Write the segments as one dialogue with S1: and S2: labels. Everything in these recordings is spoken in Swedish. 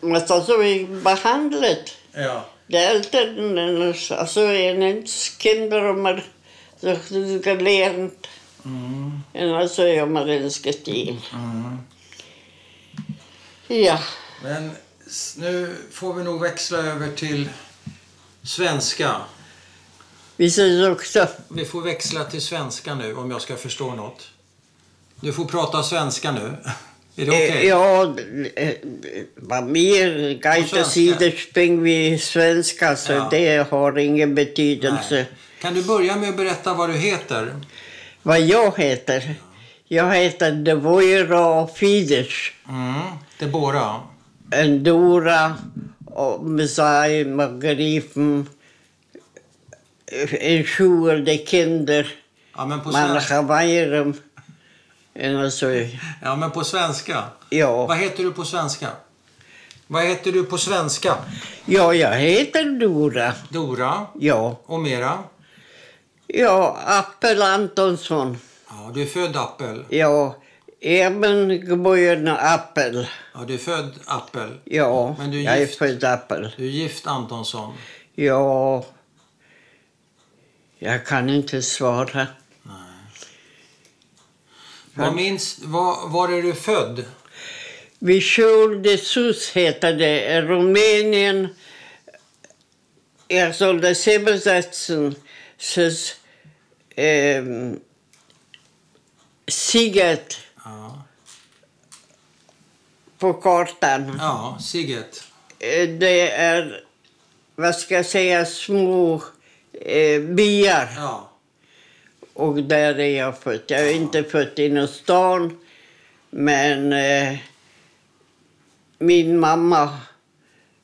S1: met tatoeëring behandeld.
S2: Ja.
S1: De eltern en de assyrienskinderen maar zich geleerd
S2: Mm.
S1: in assyriensk tid.
S2: Mm.
S1: Ja,
S2: Men s- nu får vi nog växla över till svenska.
S1: vi ses också. eh,
S2: Vi får växla till svenska nu om jag ska förstå något. Du får prata svenska nu. Är det okej?
S1: Eh, Ja, eh, vad mer?
S2: svenska.
S1: Gaita sidospring vi svenska, så
S2: Ja.
S1: det har ingen betydelse.
S2: Nej. Kan du börja med att berätta vad du heter?
S1: Vad jag heter? Jag heter Devoira Fidesz.
S2: Mm. Debora.
S1: Endora och Messiah Margarifen. En sjuende kinder.
S2: Ja men, på svenska.
S1: Manachavajrum. Alltså,
S2: ja, men på svenska. Vad
S1: ja.
S2: heter du på svenska? Vad heter du på svenska?
S1: ja, jag heter Dora.
S2: Dora
S1: Ja,
S2: och mera.
S1: ja Appel Antonsson.
S2: Ja, du är född Appel.
S1: Ja, Eben geboren Appel.
S2: Ja, du är född Appel.
S1: Ja,
S2: Men du är
S1: jag är
S2: gift.
S1: född Appel.
S2: Du är gift Antonsson.
S1: Ja, jag kan inte svara.
S2: Vad minns, var, var är du född?
S1: Visual de Sus heter det. Rumänien. Jag sålde Sebesatsenses eh, Siget
S2: Ja,
S1: på kartan.
S2: ja Siget.
S1: Eh, Det är, vad ska jag säga, små eh, byar.
S2: Ja.
S1: Och där är jag född. Jag är inte född inom stan, men eh, min mamma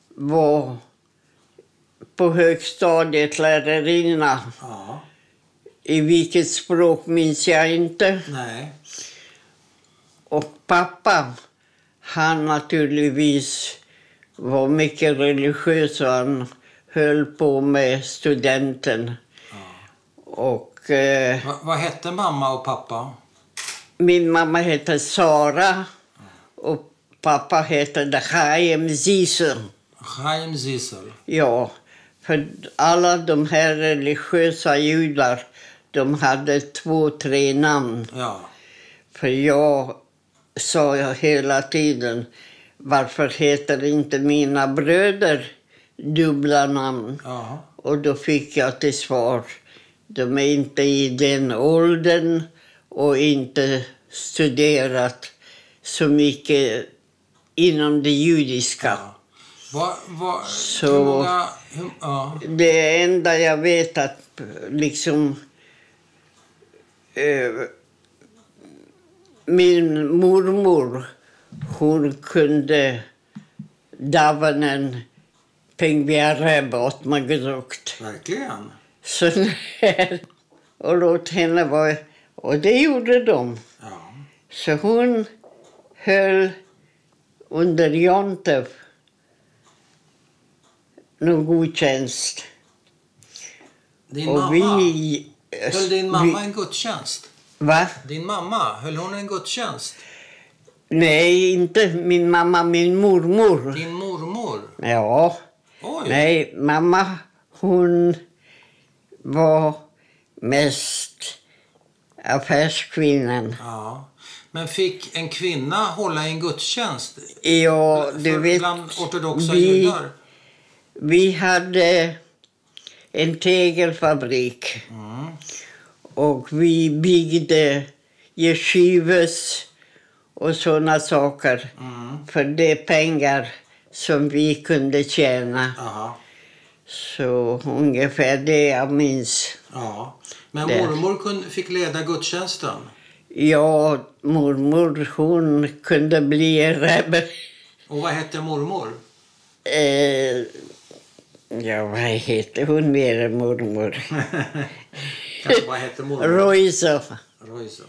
S1: var på högstadiet lärarinna.
S2: ja.
S1: I vilket språk minns jag inte.
S2: Nej.
S1: Och pappa, han naturligtvis var mycket religiös och han höll på med studenten. Och... Eh,
S2: Va, vad hette mamma och pappa?
S1: Min mamma heter Sara och pappa heter Chaim Zisel.
S2: Chaim Zisel.
S1: Ja, för alla de här religiösa judar, de hade två, tre namn.
S2: Ja.
S1: För jag sa jag hela tiden, varför heter inte mina bröder dubbla namn?
S2: ja.
S1: Och då fick jag till svar, de är inte i den åldern och inte studerat så mycket inom det judiska.
S2: ja. Va, va,
S1: Så-
S2: Hur många... Hur, ja.
S1: Det enda jag vet att liksom... Eh, min mormor, hon kunde davanen Pengviareb åt mig gedruckt.
S2: Verkligen.
S1: Så när, och låt henne vara... Och det gjorde de.
S2: Ja.
S1: Så hon höll under Jontef någon gudstjänst.
S2: Din
S1: Och
S2: mamma.
S1: vi...
S2: Höll din mamma en gudstjänst?
S1: Vi, va?
S2: Din mamma, höll hon en gudstjänst?
S1: Nej, inte min mamma, min mormor.
S2: Din mormor?
S1: Ja.
S2: Oj!
S1: Nej, mamma hon var mest affärskvinnan.
S2: Ja. Men fick en kvinna hålla en gudstjänst?
S1: Ja, du
S2: För-
S1: vet,
S2: Bland ortodoxa
S1: vi,
S2: judar?
S1: vi hade en tegelfabrik
S2: Mm.
S1: och vi byggde yeshivas och såna saker
S2: Mm.
S1: för de pengar som vi kunde tjäna.
S2: Aha.
S1: Så ungefär det jag minns.
S2: Ja. Men
S1: Det.
S2: mormor kun, fick leda gudstjänsten?
S1: Ja, mormor hon kunde bli en rebbe.
S2: Och vad hette mormor?
S1: Eh, ja, vad heter hon mer än mormor?
S2: Kanske vad hette mormor?
S1: Roisa.
S2: Roysa.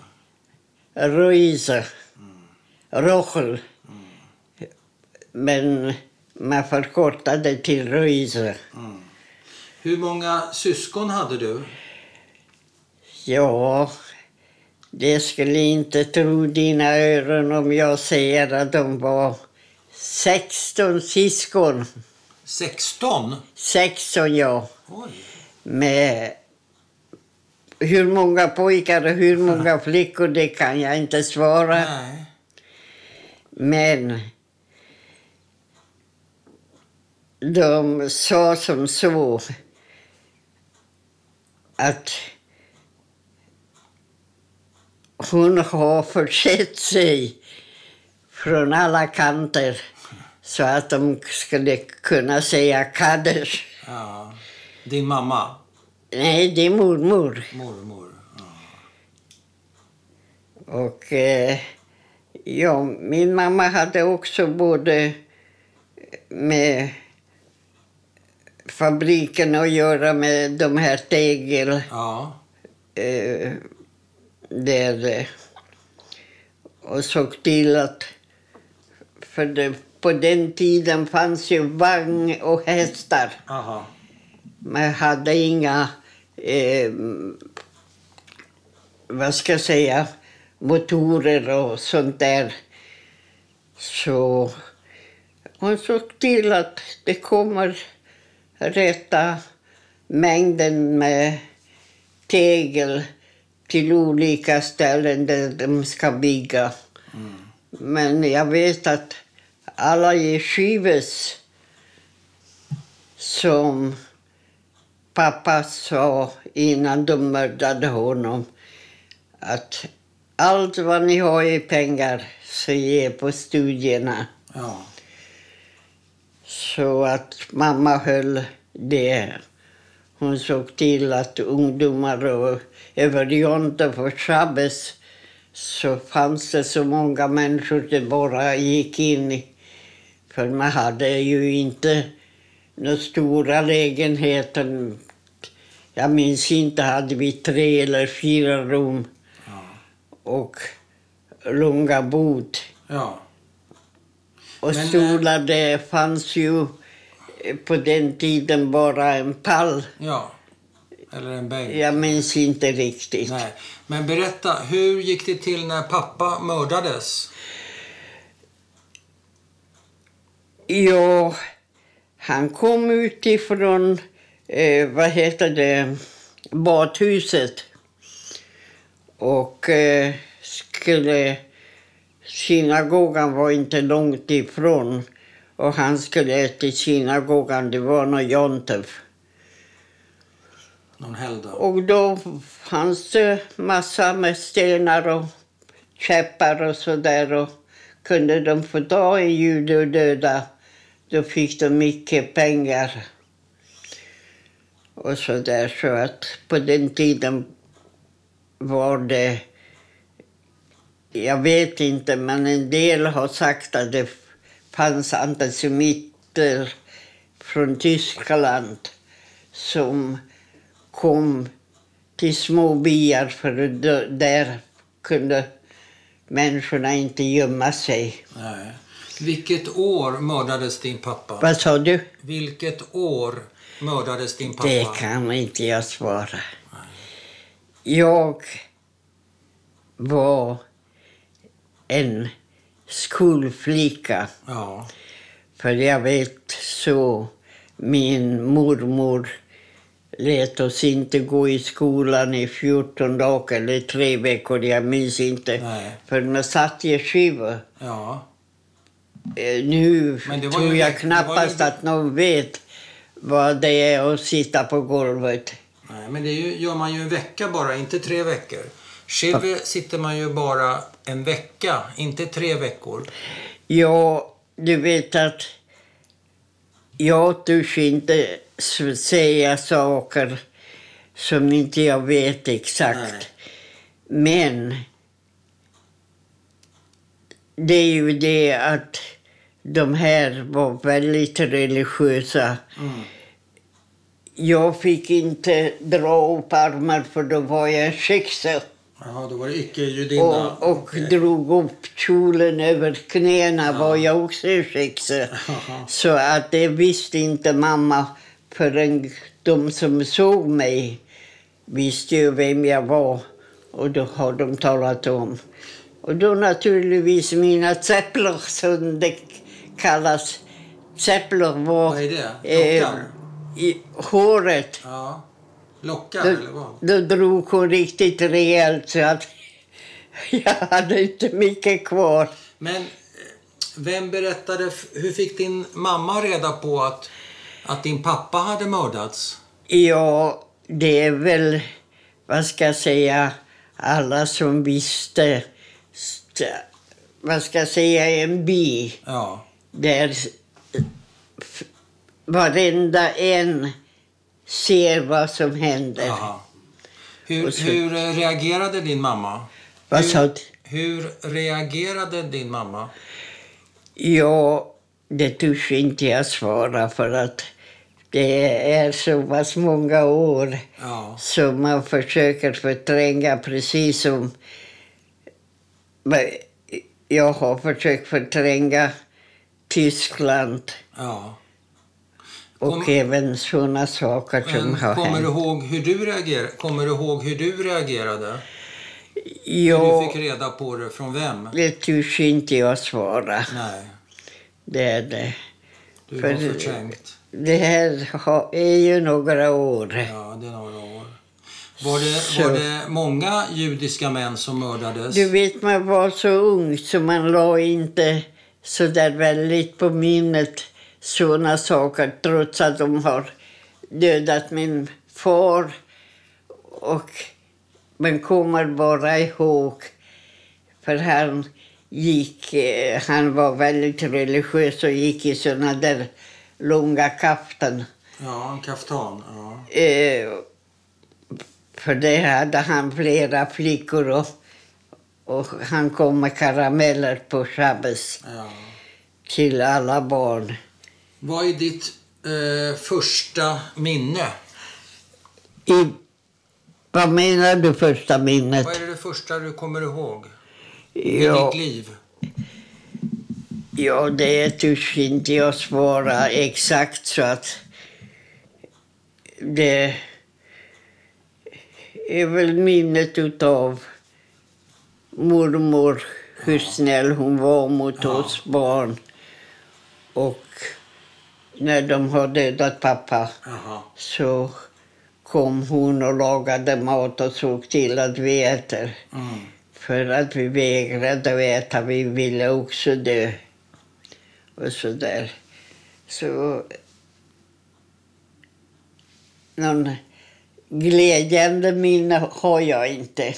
S1: Ruiser. Rochel. Men man förkortade till Ruiser.
S2: Hur många syskon hade du?
S1: Ja, det skulle inte tro dina öron om jag säger att de var 16 syskon.
S2: 16?
S1: 16 ja.
S2: Oj.
S1: Med hur många pojkar och hur många flickor det kan jag inte svara.
S2: Nej.
S1: Men de sa som så att hon har försett sig från alla kanter så att de skulle kunna säga kadder.
S2: Ja. Din mamma,
S1: Nej, det är mormor.
S2: mormor. Ja.
S1: Och eh, ja, min mamma hade också både med fabriken att göra med de här tegel
S2: ja.
S1: eh, där eh, och såg till att för det, på den tiden fanns ju vagn och hästar.
S2: Aha.
S1: Man hade inga, eh, vad ska jag säga, motorer och sånt där. Så hon såg till att det kommer rätta mängden med tegel till olika ställen där de ska bygga. Men jag vet att alla i Skives som pappa sa innan de mördade honom att allt vad ni har i pengar så ge på studierna.
S2: Ja.
S1: Så att mamma höll det. Hon såg till att ungdomar och överjonter för Shabbes så fanns det så många människor det bara gick in i. För man hade ju inte några stora lägenheter. Jag minns inte, hade vi tre eller fyra rum
S2: Ja.
S1: och långa bod.
S2: ja.
S1: Och
S2: Men, eh,
S1: stolar, det fanns ju eh, på den tiden bara en pall.
S2: Ja. Eller en bänk.
S1: Jag minns inte riktigt.
S2: Nej. Men berätta, hur gick det till när pappa mördades?
S1: Ja, han kom utifrån, eh, vad heter det, badhuset och eh, skulle... Synagogan var inte långt ifrån och han skulle till synagogan, det var någon jontef.
S2: Någon helgdag?
S1: Och då fanns det massa med stenar och käppar och sådär. Och kunde de få ta en jude och döda, då fick de mycket pengar. Och sådär, så att på den tiden var det... Jag vet inte, men en del har sagt att det fanns antisemiter från Tyskland som kom till små byar för d- där kunde människorna inte gömma sig.
S2: Nej. Vilket år mördades din pappa?
S1: Vad sa du?
S2: Vilket år mördades din pappa?
S1: Det kan inte jag svara. Jag var en skolflicka.
S2: Ja.
S1: För jag vet så, min mormor lät oss inte gå i skolan i 14 dagar eller tre veckor, jag minns inte.
S2: Nej.
S1: För man satt i skiva.
S2: Ja.
S1: Eh, Nu
S2: Men det var
S1: tror
S2: ju-
S1: jag
S2: det var
S1: knappast
S2: ju-
S1: att någon vet vad det är att sitta på golvet.
S2: Nej, men det är ju, gör man ju en vecka bara, inte tre veckor. Shive sitter man ju bara en vecka, inte tre veckor.
S1: Ja, du vet att jag törs inte s- säga saker som inte jag vet exakt.
S2: Nej.
S1: Men det är ju det att de här var väldigt religiösa.
S2: Mm.
S1: Jag fick inte dra upp armar för då var jag en skyxel
S2: Jaha, då var det Eh, icke-judinna.
S1: och, och
S2: Okej.
S1: drog upp kjolen över knäna var jag också en skyxel.
S2: Jaha.
S1: Så att det visste inte mamma förrän de som såg mig visste ju vem jag var. Och då har de talat om. Och då naturligtvis mina zeppler som det kallas zeppelin var
S2: Vad är det?
S1: eh,
S2: Lockar?
S1: i håret.
S2: Ja. Lockar
S1: Då,
S2: eller vad?
S1: då drog hon riktigt rejält så att jag hade inte mycket kvar.
S2: Men eh, vem berättade, f- hur fick din mamma reda på att, att din pappa hade mördats?
S1: Ja, det är väl, vad ska jag säga, alla som visste, st- vad ska jag säga, en by
S2: Ja.
S1: där f- varenda en ser vad som händer.
S2: Aha. Hur, hur eh, reagerade din mamma?
S1: Vad
S2: Hur-
S1: sa du?
S2: Hur reagerade din mamma?
S1: Ja, det törs inte jag svara för att det är så pass många år
S2: Ja.
S1: så man försöker förtränga precis som men jag har försökt förtränga Tyskland
S2: ja.
S1: och
S2: Kom-
S1: även såna saker som
S2: Men
S1: har
S2: kommer du
S1: hänt.
S2: ihåg hur du reagerade? Kommer du ihåg hur du reagerade? Hur du
S1: Ja,
S2: fick reda på det? Från vem?
S1: det törs inte jag svara.
S2: Nej,
S1: Det är det.
S2: du
S1: För-
S2: var förträngt.
S1: Det här har- är ju några år.
S2: Ja, det är några år. Var det,
S1: Så.
S2: var det många judiska män som mördades?
S1: Du vet, man var så ung så man la inte så där väldigt på minnet såna saker trots att de har dödat min far. Och man kommer bara ihåg, för han gick, eh, han var väldigt religiös och gick i såna där långa kaftan.
S2: Ja, en kaftan. Ja.
S1: Eh, för det hade han flera flickor och, och han kom med karameller på Shabbos
S2: Ja.
S1: till alla barn.
S2: Vad är ditt eh, första minne?
S1: I, vad menar du första minnet?
S2: Vad är det första du kommer ihåg i
S1: Ja,
S2: ditt liv?
S1: ja, det törs inte jag svara exakt så att det är väl minnet utav mormor, hur snäll hon var mot
S2: Ja.
S1: oss barn. Och när de har dödat pappa
S2: Jaha.
S1: så kom hon och lagade mat och såg till att vi äter.
S2: Mm.
S1: För att vi vägrade att äta, vi ville också dö. Och så där. Så... Någon glädjande minne har jag inte.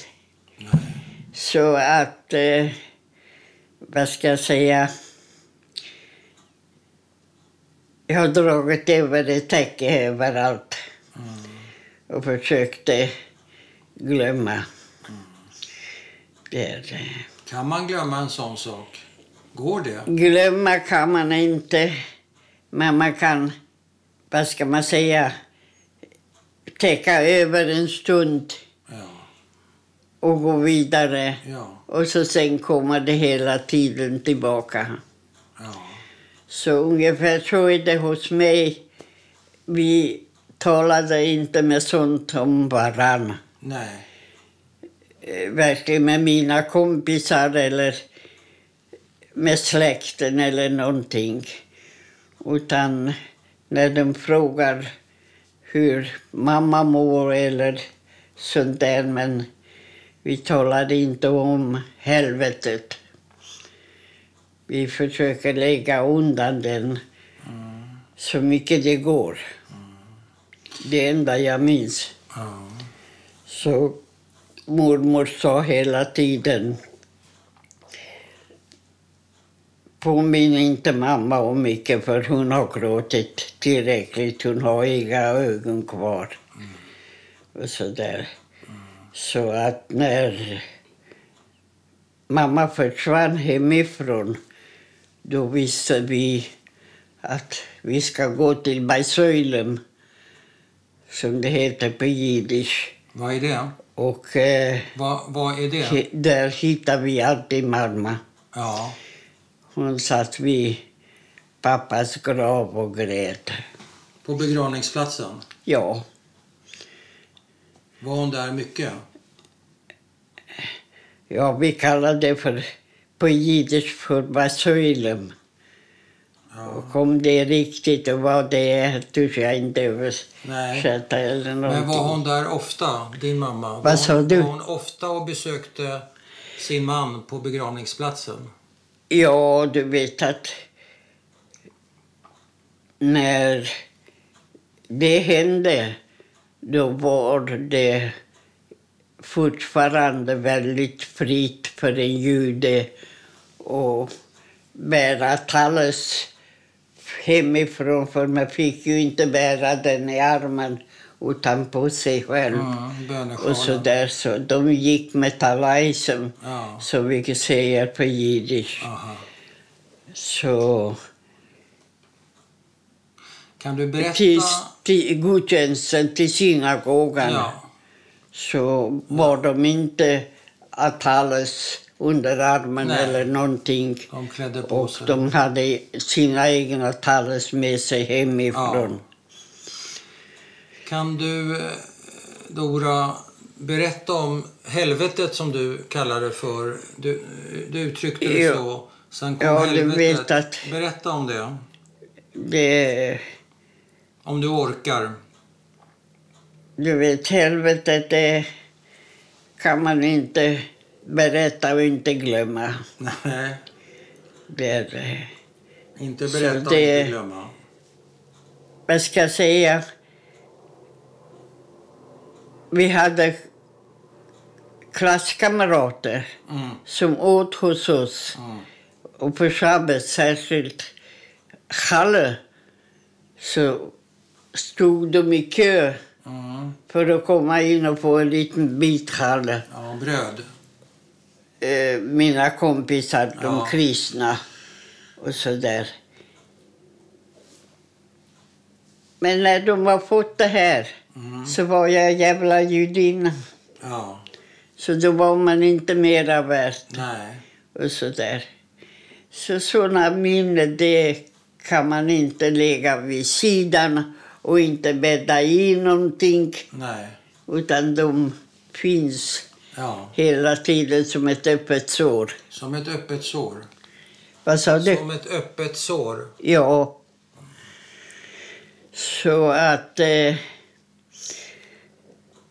S1: Så att... Eh, vad ska jag säga? Jag har dragit över ett täcke överallt och försökte glömma. Det är det.
S2: Kan man glömma en sån sak? Går det?
S1: Glömma kan man inte, men man kan, vad ska man säga, täcka över en stund
S2: Ja.
S1: och gå vidare.
S2: Ja.
S1: Och så sen kommer det hela tiden tillbaka.
S2: ja.
S1: Så ungefär så är det hos mig. Vi talade inte med sånt om varann.
S2: Nej.
S1: Eh, Verkligen med mina kompisar eller med släkten eller någonting. Utan när de frågar hur mamma mår eller sånt där. Men vi talade inte om helvetet. Vi försöker lägga undan den så mycket det går. Det enda jag minns.
S2: Ja.
S1: Så mormor sa hela tiden Påminn inte mamma om mycket för hon har gråtit tillräckligt. Hon har inga ögon kvar. Och så där. Så att när mamma försvann hemifrån då visste vi att vi ska gå till Bajsöylem som det heter på jiddisch.
S2: Vad är det?
S1: Och eh,
S2: Vad, vad är det?
S1: hi- där hittade vi alltid mamma.
S2: Ja.
S1: Hon satt vid pappas grav och grät.
S2: På begravningsplatsen?
S1: Ja,
S2: Var hon där mycket?
S1: ja vi kallade det för, på jiddisch för basylum. Och om det är riktigt och vad det är törs jag inte
S2: Nej.
S1: översätta eller
S2: Men
S1: någonting.
S2: var hon där ofta, din mamma? Vad
S1: sa du?
S2: Var hon ofta och besökte sin man på begravningsplatsen?
S1: Ja, du vet att när det hände då var det fortfarande väldigt fritt för en jude att bära talles hemifrån för man fick ju inte bära den i armen utan på sig själv.
S2: Mm, bönesjalen.
S1: Och så där, så de gick med talaj som,
S2: Ja.
S1: som vi säger på jiddisch.
S2: Aha.
S1: Så
S2: Kan du berätta?
S1: till, till gudstjänsten, till synagogan,
S2: Ja.
S1: så var de inte att hallas under armen
S2: Nej.
S1: eller någonting.
S2: De klädde på
S1: Och
S2: sig.
S1: de hade sina egna talles med sig hemifrån.
S2: Kan du, eh, Dora, berätta om helvetet som du kallar det för? Du, du uttryckte det
S1: Ja.
S2: så. Sen kom
S1: Ja, du
S2: helvetet.
S1: vet att-
S2: Berätta om det,
S1: Det,
S2: om du orkar.
S1: du vet, helvetet det kan man inte berätta och inte glömma.
S2: Nej,
S1: Det är det.
S2: inte
S1: Så
S2: berätta och
S1: det-
S2: inte glömma.
S1: vad ska jag säga, vi hade klasskamrater
S2: Mm,
S1: som åt hos oss.
S2: mm.
S1: Och på Shabbet, särskilt Halle, så stod de i kö
S2: Mm.
S1: för att komma in och få en liten bit Halle.
S2: Ja, bröd.
S1: eh, mina kompisar, de
S2: Ja.
S1: kristna och så där. Men när de har fått det här så var jag jävla judinna.
S2: Mm. Ja,
S1: Så då var man inte mera värd
S2: nej.
S1: och så där. Så sådana minnen, det kan man inte lägga vid sidan och inte bädda i någonting,
S2: Nej.
S1: utan de finns
S2: Ja,
S1: hela tiden som ett öppet sår.
S2: som ett öppet sår.
S1: Vad sa du?
S2: Som ett öppet sår.
S1: Ja. Så att... Eh,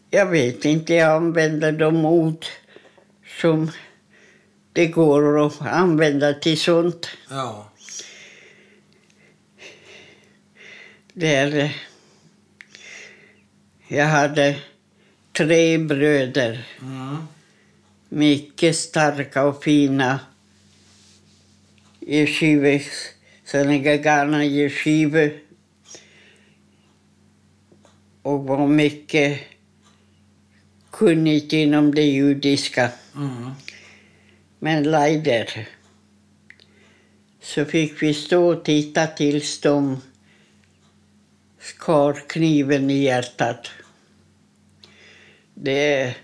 S1: jag vet inte, jag använder de ord som det går att använda till sånt.
S2: Ja,
S1: Där, eh, jag hade tre bröder,
S2: mm.
S1: mycket starka och fina yeshivor, Senegagana yeshivor. Och var mycket kunnigt inom det judiska.
S2: Mm.
S1: Men leider. Så fick vi stå och titta tills de skar kniven i hjärtat. Det,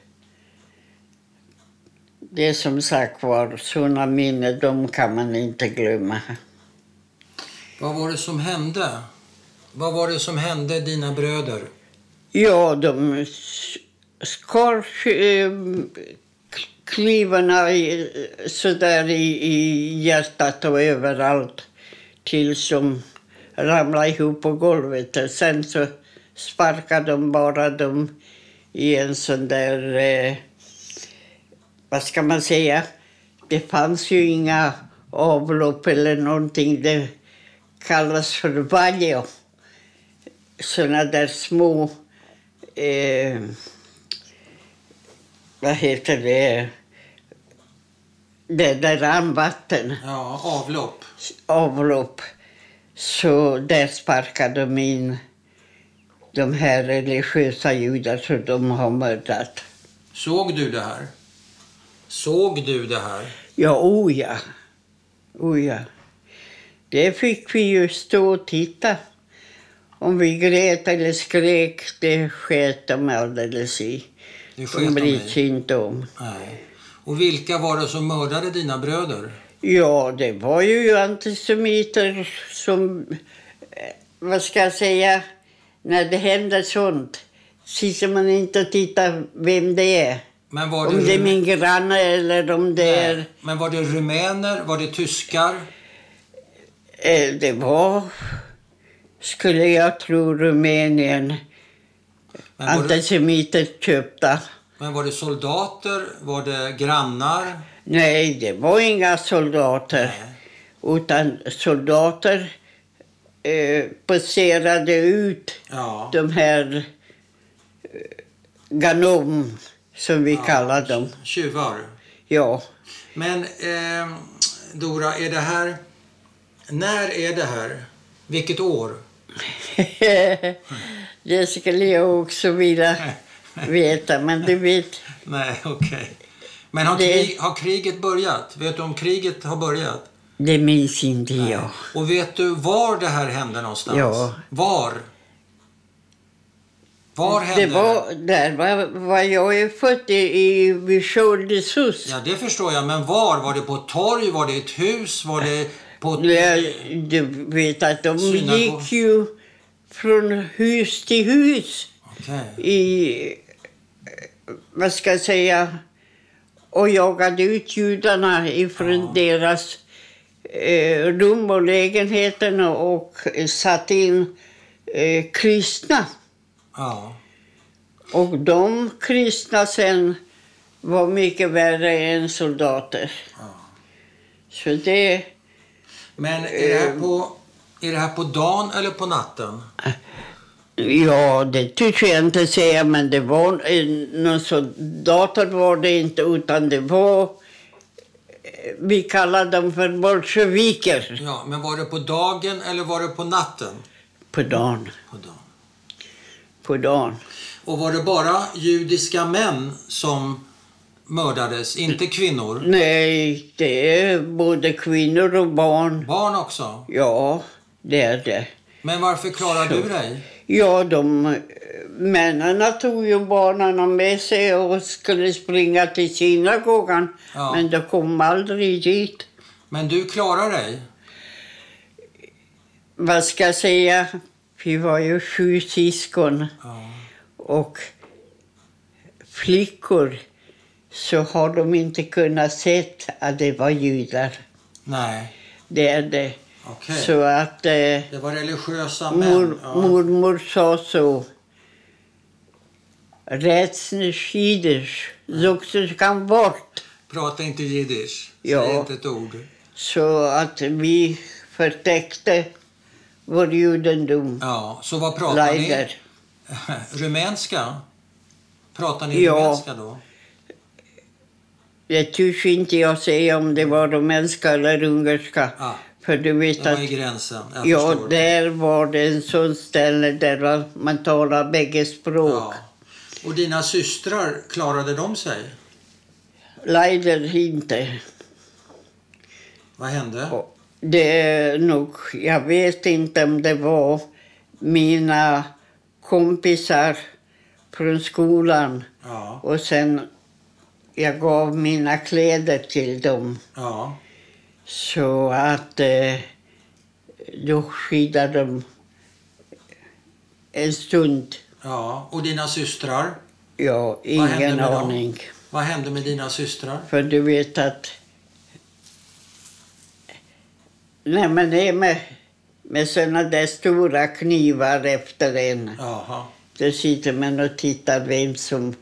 S1: det är som sagt var, sådana minnen, de kan man inte glömma.
S2: Vad var det som hände? Vad var det som hände dina bröder?
S1: Ja, de s- skar eh, k- knivarna i- sådär i, i hjärtat och överallt tills de ramlade ihop på golvet. Och sen så sparkade de bara dem i en sån där... Eh, vad ska man säga? Det fanns ju inga avlopp eller någonting. Det kallas för valjo. Såna där små... Eh, vad heter det? Det där ramvatten,
S2: Ja, avlopp.
S1: avlopp. Så där sparkade de in de här religiösa judar som de har mördat.
S2: Såg du det här? Såg du det här?
S1: Ja, o ja. O ja. Det fick vi ju stå och titta. Om vi grät eller skrek, det sket de alldeles i.
S2: Det sket
S1: De
S2: de
S1: brydde
S2: i.
S1: sig inte om.
S2: Nej. Och vilka var det som mördade dina bröder?
S1: Ja, det var ju antisemiter som, eh, vad ska jag säga, när det händer sånt, sitter man inte och tittar vem det är.
S2: Men var det,
S1: Om det är
S2: rum-
S1: min granne eller om det är...
S2: Nej. Men var det rumäner? Var det tyskar?
S1: Eh, Det var, skulle jag tro, Rumänien.
S2: Men var, det,
S1: Antisemiter köpta.
S2: men var det soldater? Var det grannar?
S1: Nej, det var inga soldater.
S2: Nej.
S1: Utan soldater eh, passerade ut
S2: Ja.
S1: de här eh, ganom, som vi kallar dem.
S2: Tjuvar.
S1: Ja.
S2: Men eh, Dora, är det här... När är det här? Vilket år?
S1: det skulle jag också vilja veta, men du vet,
S2: Nej, okej. Men har,
S1: Det-
S2: krig, har kriget börjat? Vet du om kriget har börjat?
S1: det minns inte jag.
S2: Och vet du var det här hände någonstans?
S1: Ja.
S2: Var? Var hände
S1: Det var, där var, var jag ju född, i, i Vision de Sus.
S2: Ja, det förstår jag. Men var? Var det på ett torg? Var det ett hus? Var det på... ett-
S1: Jag, du vet att de
S2: Synago-
S1: gick ju från hus till hus
S2: Okej.
S1: i, eh, vad ska jag säga, och jagade ut judarna ifrån deras eh, rum och lägenheter och satte in eh, kristna.
S2: Ja.
S1: Och de kristna sen var mycket värre än soldater. Så det...
S2: Men är det, här på, är det här på dagen eller på natten?
S1: Ja, det tycker jag inte säga, men det var en- någon soldater var det inte, utan det var... eh, Vi kallar dem för bolsjeviker
S2: Ja, men var det på dagen eller var det på natten?
S1: på dagen.
S2: På dagen.
S1: På dagen.
S2: Och var det bara judiska män som mördades, inte
S1: Mm.
S2: kvinnor?
S1: Nej, det är både kvinnor och barn.
S2: Barn också?
S1: Ja, det är det.
S2: Men varför klarar du dig?
S1: Ja, de eh, männen tog ju barnen med sig och skulle springa till synagogan,
S2: Ja.
S1: men de kom aldrig dit.
S2: Men du klarar dig?
S1: vad ska jag säga, vi var ju sju syskon
S2: Ja.
S1: och flickor så har de inte kunnat se att det var judar.
S2: Nej,
S1: Det är det.
S2: okej.
S1: Så att eh,
S2: Det var religiösa män?
S1: mor,
S2: Ja.
S1: mormor sa så. Rädsne schieders, doktor kan bort.
S2: Prata inte jiddisch.
S1: Ja.
S2: Säg inte ett ord.
S1: Så att vi förtäckte vår judendom.
S2: Ja, så vad pratar
S1: Leider.
S2: ni? rumänska? Pratar ni
S1: Ja.
S2: rumänska då?
S1: Det törs inte jag säga om det var rumänska eller ungerska.
S2: Ja.
S1: För du vet
S2: Det var
S1: att
S2: i gränsen, jag
S1: ja,
S2: förstår.
S1: där var det en sån ställe där var- man talar bägge språk.
S2: Ja. Och dina systrar, klarade de sig?
S1: Leider inte.
S2: Vad hände?
S1: Och Det är nog, jag vet inte om det var mina kompisar från skolan
S2: Ja,
S1: och sen jag gav mina kläder till dem.
S2: ja.
S1: Så att eh, då skidade de en stund.
S2: ja. Och dina systrar?
S1: Ja,
S2: hände
S1: ingen
S2: med dem?
S1: aning.
S2: Vad hände med dina systrar?
S1: För du vet att när man är med, med såna där stora knivar efter en,
S2: Jaha.
S1: då sitter man och tittar vem som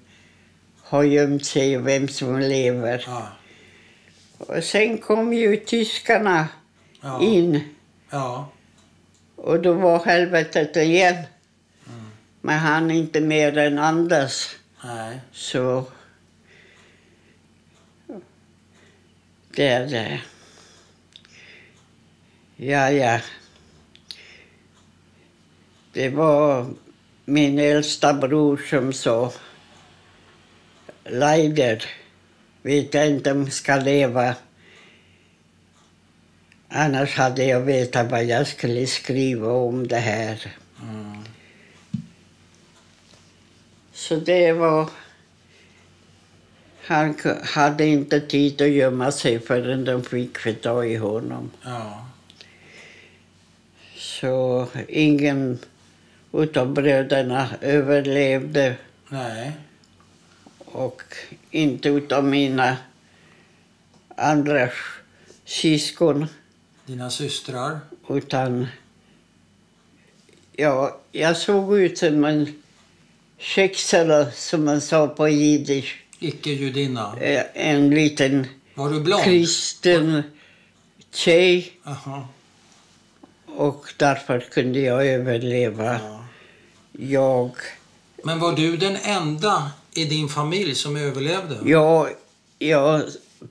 S1: har gömt sig och vem som lever.
S2: Ja.
S1: Och sen kom ju tyskarna
S2: Ja.
S1: in.
S2: ja.
S1: Och då var helvetet igen. Men han inte mer än andas.
S2: Nej.
S1: Så... Det är det. Ja, ja. Det var min äldsta bror som sa Leider, vet jag inte om jag ska leva. Annars hade jag vetat vad jag skulle skriva om det här.
S2: Mm.
S1: Så det var... Han ku- hade inte tid att gömma sig förrän de fick få tag i honom.
S2: Ja.
S1: Så ingen utav bröderna överlevde
S2: Nej.
S1: och inte utav mina andra syskon.
S2: Dina systrar?
S1: Utan... Ja, jag såg ut som en tjecksala, som man sa på jiddisch.
S2: Icke-judinna?
S1: Eh, En liten
S2: Var du blond?
S1: kristen tjej
S2: Aha.
S1: och därför kunde jag överleva.
S2: Ja.
S1: Jag,
S2: Men var du den enda i din familj som överlevde?
S1: jag, jag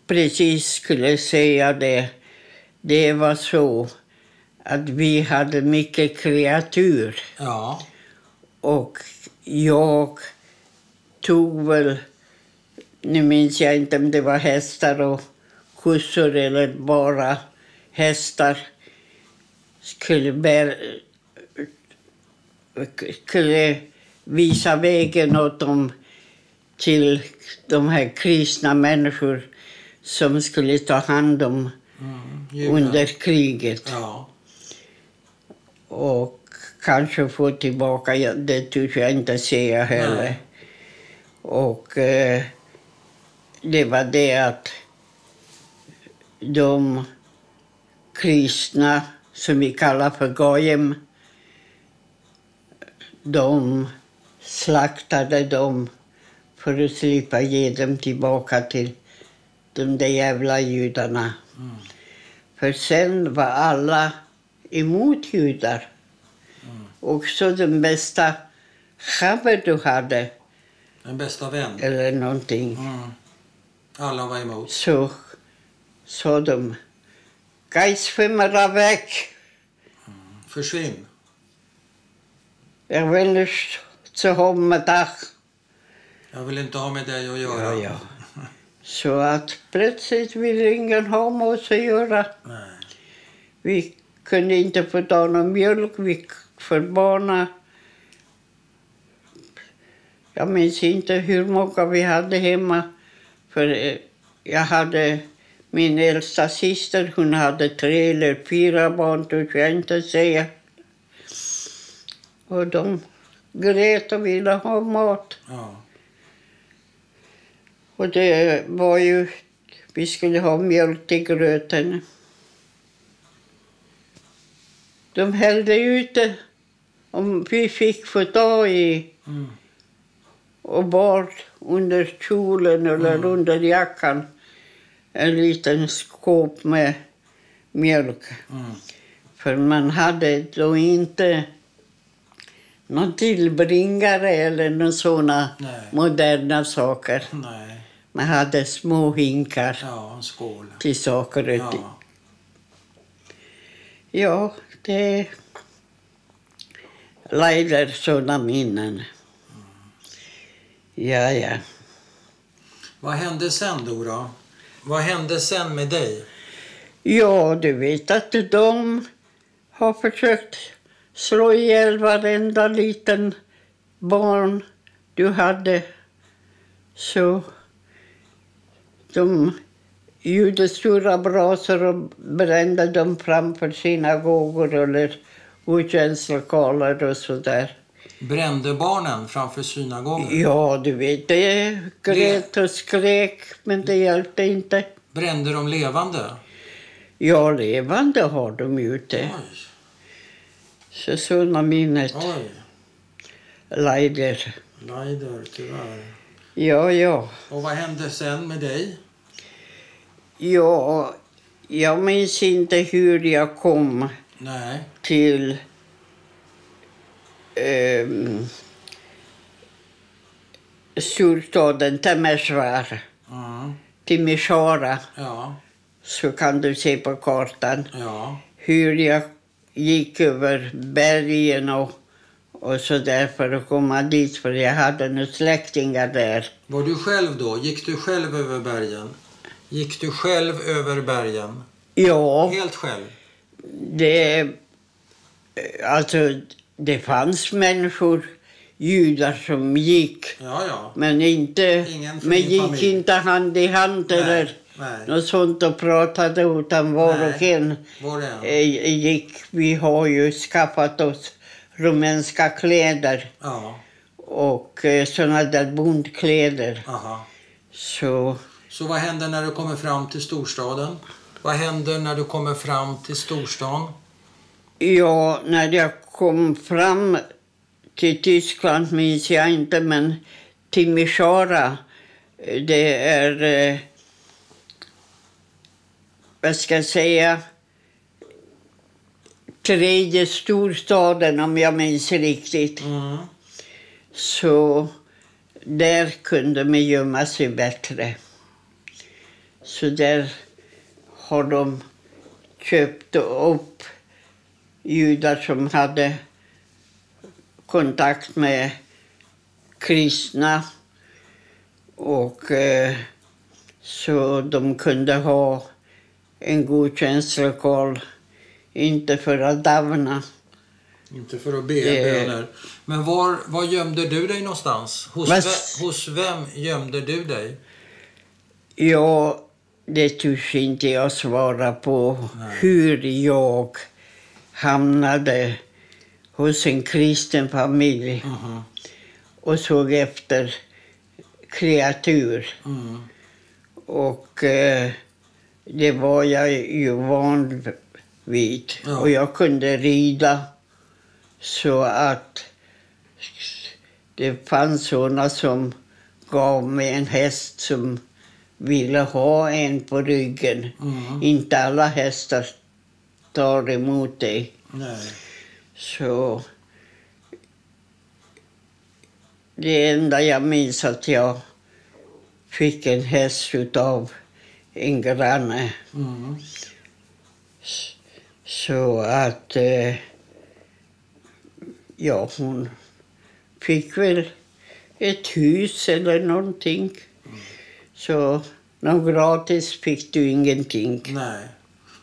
S1: precis skulle säga det. Det var så att vi hade mycket kreatur.
S2: Ja.
S1: Och jag tog väl... Nu minns jag inte om det var hästar och kossor eller bara hästar. Skulle, bära, skulle visa vägen åt dem till de här kristna människor som skulle ta hand om
S2: Mm, judar.
S1: under kriget
S2: Ja.
S1: och kanske få tillbaka, ja, det törs jag inte säga heller.
S2: Nej.
S1: Och eh, det var det att de kristna, som vi kallar för goyim, de slaktade dem för att slippa ge dem tillbaka till de där jävla judarna. För sen var alla emot judar. Också den bästa chabber du hade,
S2: Den bästa vän.
S1: eller någonting,
S2: Mm. Alla var emot.
S1: så sa de Geis femmera väck!
S2: Försvinn.
S1: Jag vill nicht zu haben med dag.
S2: Jag vill inte ha med dig att göra.
S1: Ja, ja. Så att plötsligt ville ingen ha med oss att göra.
S2: Nej.
S1: Vi kunde inte få ta någon mjölk vi för barnen. Jag minns inte hur många vi hade hemma. För eh, jag hade min äldsta syster, hon hade tre eller fyra barn, törs jag inte säga. Och de grät och ville ha mat.
S2: Ja.
S1: Och det var ju... Vi skulle ha mjölk till gröten. De hällde ut det om vi fick få ta i
S2: Mm.
S1: och bar under kjolen eller under jackan en liten skåp med mjölk.
S2: Mm.
S1: För man hade då inte någon tillbringare eller någon såna
S2: Nej.
S1: moderna saker.
S2: Nej.
S1: Man hade små hinkar
S2: Ja, en skål.
S1: till saker och ting. Ja.
S2: Ja.
S1: det är Lailer sådana minnen. Ja, ja.
S2: Vad hände sen, Dora? Vad hände sen med dig?
S1: Ja, du vet att de har försökt slå ihjäl varenda liten barn du hade. Så de gjorde stora brasor och brände dem framför synagogor eller gudstjänstlokaler och sådär.
S2: Brände barnen framför synagogan?
S1: Ja, du vet, det grät och skrek, men det hjälpte inte.
S2: Brände de levande?
S1: Ja, levande har de gjort det.
S2: Oj.
S1: Så såna minnet,
S2: Oj.
S1: Leider.
S2: Leider, tyvärr.
S1: Ja, ja.
S2: Och vad hände sen med dig?
S1: Ja, jag minns inte hur jag kom
S2: Nej.
S1: till... ehm, storstaden Temesvar,
S2: Mm.
S1: till Mishara,
S2: Ja.
S1: så kan du se på kartan
S2: Ja.
S1: hur jag gick över bergen och, och så där för att komma dit, för jag hade några släktingar där.
S2: Var du själv då? Gick du själv över bergen? Gick du själv över bergen?
S1: Ja.
S2: Helt själv?
S1: Det, eh, alltså, det fanns människor, judar, som gick.
S2: Ja, ja.
S1: Men inte,
S2: Ingen från
S1: men
S2: din
S1: gick
S2: familj.
S1: inte hand i hand eller
S2: Nej.
S1: något sånt och pratade utan var
S2: Nej.
S1: och en
S2: Var det en?
S1: eh, gick. Vi har ju skaffat oss rumänska kläder
S2: Ja.
S1: och eh, såna där bondkläder.
S2: Aha.
S1: Så
S2: Så vad hände när du kommer fram till storstaden? Vad händer när du kommer fram till storstan?
S1: Ja, när jag kom fram till Tyskland minns jag inte, men Timisoara, det är... eh, Vad ska jag säga? Tredje storstaden, om jag minns riktigt.
S2: Mm.
S1: Så där kunde man gömma sig bättre. Så där har de köpt upp judar som hade kontakt med kristna. Och eh, så de kunde ha en gudstjänstlokal, inte för att davna.
S2: Inte för att be
S1: Eh.
S2: böner. Men var, var gömde du dig någonstans? Hos,
S1: Vad
S2: ve,
S1: s-
S2: hos vem gömde du dig?
S1: Ja, det törs inte jag svara på hur jag hamnade hos en kristen familj
S2: Mhm.
S1: och såg efter kreatur.
S2: Mm.
S1: Och eh, det var jag ju van vid.
S2: Ja.
S1: Och jag kunde rida så att det fanns såna som gav mig en häst som ville ha en på ryggen.
S2: Mm.
S1: Inte alla hästar tar emot dig.
S2: Nej.
S1: Så det enda jag minns att jag fick en häst utav en granne.
S2: Mm.
S1: Så att, eh, ja, hon fick väl ett hus eller någonting. Så något gratis fick du ingenting.
S2: Nej.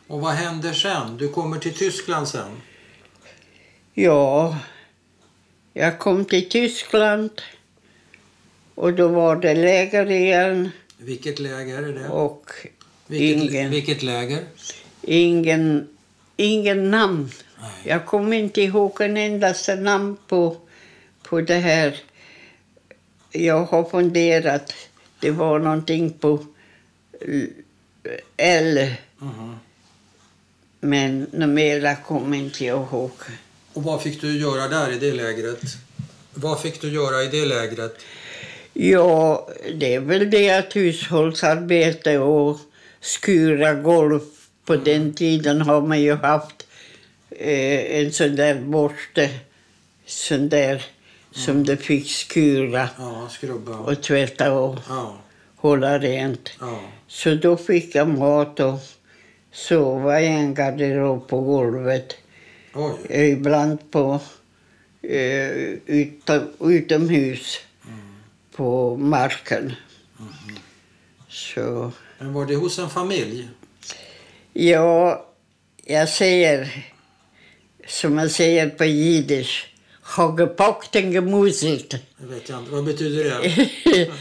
S2: Och vad händer sen? Du kommer till Tyskland sen.
S1: Ja, jag kom till Tyskland och då var det läger igen
S2: Vilket läger är det?
S1: och
S2: vilket,
S1: ingen.
S2: vilket läger?
S1: ingen, ingen namn.
S2: Nej.
S1: Jag kom inte ihåg en endaste namn på, på det här. Jag har funderat. Det var någonting på L,
S2: Mhm.
S1: men numera kommer inte jag ihåg.
S2: Och vad fick du göra där i det lägret? Vad fick du göra i det lägret?
S1: Ja, det är väl det att hushållsarbete och skura golv. På den tiden har man ju haft eh, en sån där borste, sån där som du fick skura
S2: Ja, skrubba.
S1: och tvätta och
S2: Ja,
S1: hålla rent.
S2: ja.
S1: Så då fick jag mat och sova i en garderob på golvet.
S2: Oj.
S1: Ibland på eh, utom, utomhus på marken. Så
S2: Men var det hos en familj?
S1: ja, jag säger som man säger på jiddisch. Hagepakten gemuselt.
S2: Jag vet jag inte. Vad betyder det?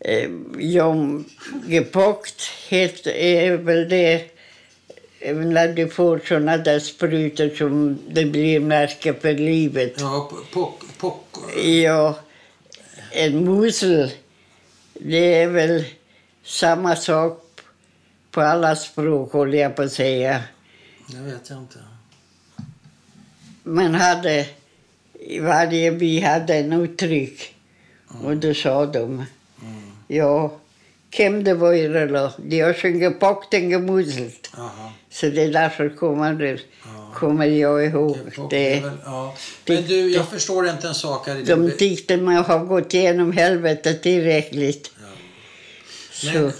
S1: Eh, Jom gepockt heter är väl det eh, när du får såna där sprutor som det blir märke för livet.
S2: Ja, po- pock, pock.
S1: Ja, en musel, det är väl samma sak på alla språk, håller jag på att säga.
S2: Det vet jag inte.
S1: Man hade, i varje by hade en uttryck. Och då sa de, ja, kem det var i Rölo, de har sjungit pakten gemuselt.
S2: Jaha.
S1: Så det är därför kommer, det,
S2: Ja.
S1: kommer jag ihåg
S2: Pock är
S1: det.
S2: väl- Ja.
S1: det-
S2: Men du, jag förstår inte en sak här i
S1: De
S2: det.
S1: tyckte man har gått igenom helvetet tillräckligt.
S2: Men,
S1: Så,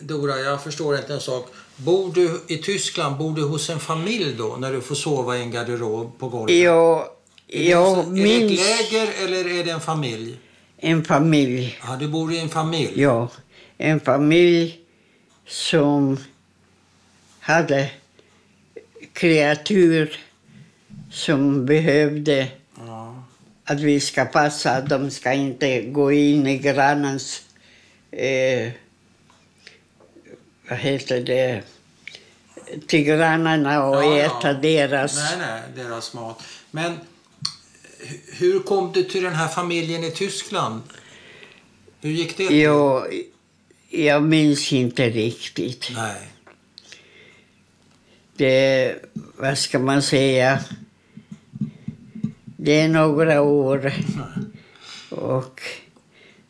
S2: Dora, jag förstår inte en sak. Bor du i Tyskland, bor du hos en familj då, när du får sova i en garderob på golvet? Alltså,
S1: jag,
S2: är
S1: jag
S2: det ett
S1: minns
S2: läger eller är det en familj?
S1: en familj.
S2: Ja, du bor i en familj.
S1: Ja, en familj som hade kreatur som behövde
S2: Ja.
S1: att vi ska passa att de ska inte gå in i grannens... Eh, vad heter det? Till grannarna och
S2: Ja, ja.
S1: äta deras...
S2: Nej, nej, deras mat. Men hu- hur kom du till den här familjen i Tyskland? Hur gick det? till?
S1: Jag, jag minns inte riktigt.
S2: Nej.
S1: det, vad ska man säga, det är några år. Och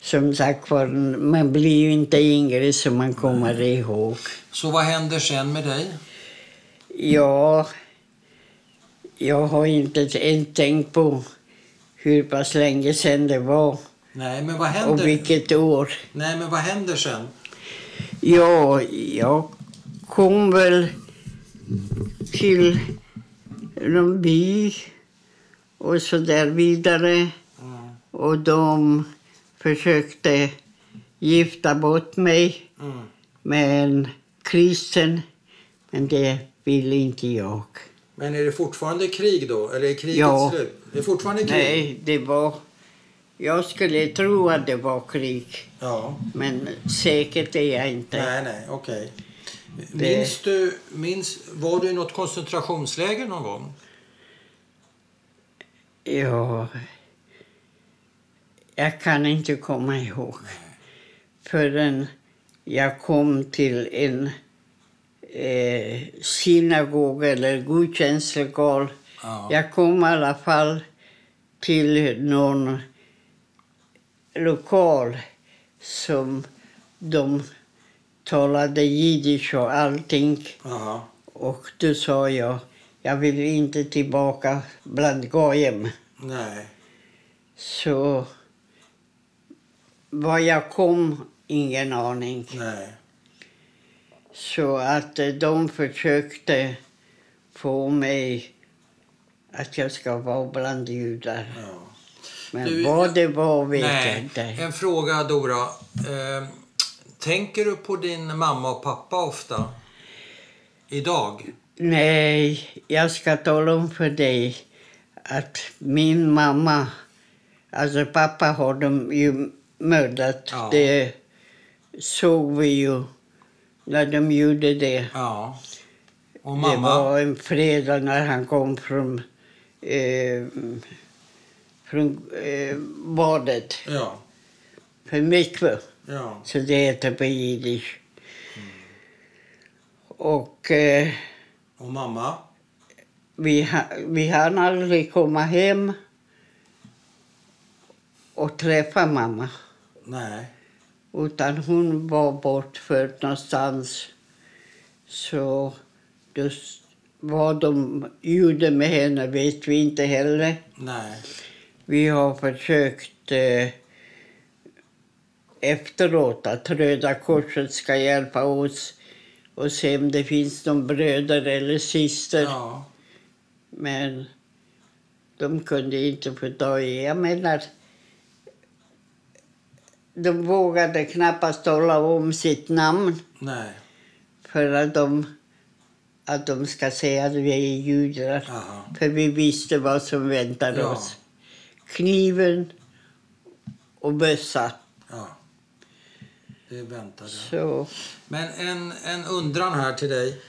S1: som sagt var, man blir ju inte yngre så man kommer ihåg.
S2: Så vad händer sen med dig?
S1: Ja, jag har inte ens tänkt på hur pass länge sen det var
S2: Nej, men vad
S1: och
S2: händer?
S1: vilket år.
S2: Nej, men vad händer sen?
S1: Ja, jag kom väl till någon by och så där vidare.
S2: Mm.
S1: Och de försökte gifta bort mig
S2: Mm.
S1: med en kristen, men det ville inte jag.
S2: Men är det fortfarande krig då? Eller är kriget
S1: Ja.
S2: slut? Det är fortfarande krig?
S1: Nej, det var... Jag skulle tro att det var krig,
S2: Ja.
S1: men säkert är jag inte.
S2: Nej, nej, okej.
S1: Det-
S2: Minns du, minns, var du i något koncentrationsläger någon gång?
S1: Ja... Jag kan inte komma ihåg förrän jag kom till en eh, synagoga eller gudstjänstlokal.
S2: Ja.
S1: Jag kom i alla fall till någon lokal som de talade jiddisch och allting.
S2: Jaha.
S1: Och då sa jag, jag vill inte tillbaka bland goyim.
S2: Nej.
S1: Så var jag kom, ingen aning.
S2: Nej.
S1: Så att eh, de försökte få mig att jag ska vara bland judar.
S2: Ja.
S1: Men
S2: Du-
S1: vad det var vet jag
S2: Nej.
S1: inte.
S2: En fråga, Dora. Eh, tänker du på din mamma och pappa ofta? Idag?
S1: Nej, jag ska tala om för dig att min mamma... Alltså pappa har de ju mördat.
S2: Ja.
S1: Det såg vi ju när de gjorde det.
S2: Ja. Och
S1: Det
S2: mamma?
S1: var en fredag när han kom från, eh, från eh, badet,
S2: Ja.
S1: från mikve,
S2: Ja.
S1: så det heter på jiddisch. Och eh,
S2: Och mamma?
S1: vi, ha- vi hann aldrig komma hem och träffa mamma.
S2: Nej.
S1: Utan hon var bortförd någonstans. Så då s- vad de gjorde med henne vet vi inte heller.
S2: Nej.
S1: Vi har försökt eh, efteråt att Röda Korset ska hjälpa oss och se om det finns någon bröder eller syster.
S2: Ja.
S1: Men de kunde inte få ta i. Jag menar, de vågade knappast tala om sitt namn
S2: Nej.
S1: för att de, att de ska säga att vi är judar.
S2: Jaha.
S1: För vi visste vad som väntade
S2: Ja.
S1: oss. Kniven och bössa.
S2: Ja. Det väntade jag.
S1: Så,
S2: Men en, en undran här till dig.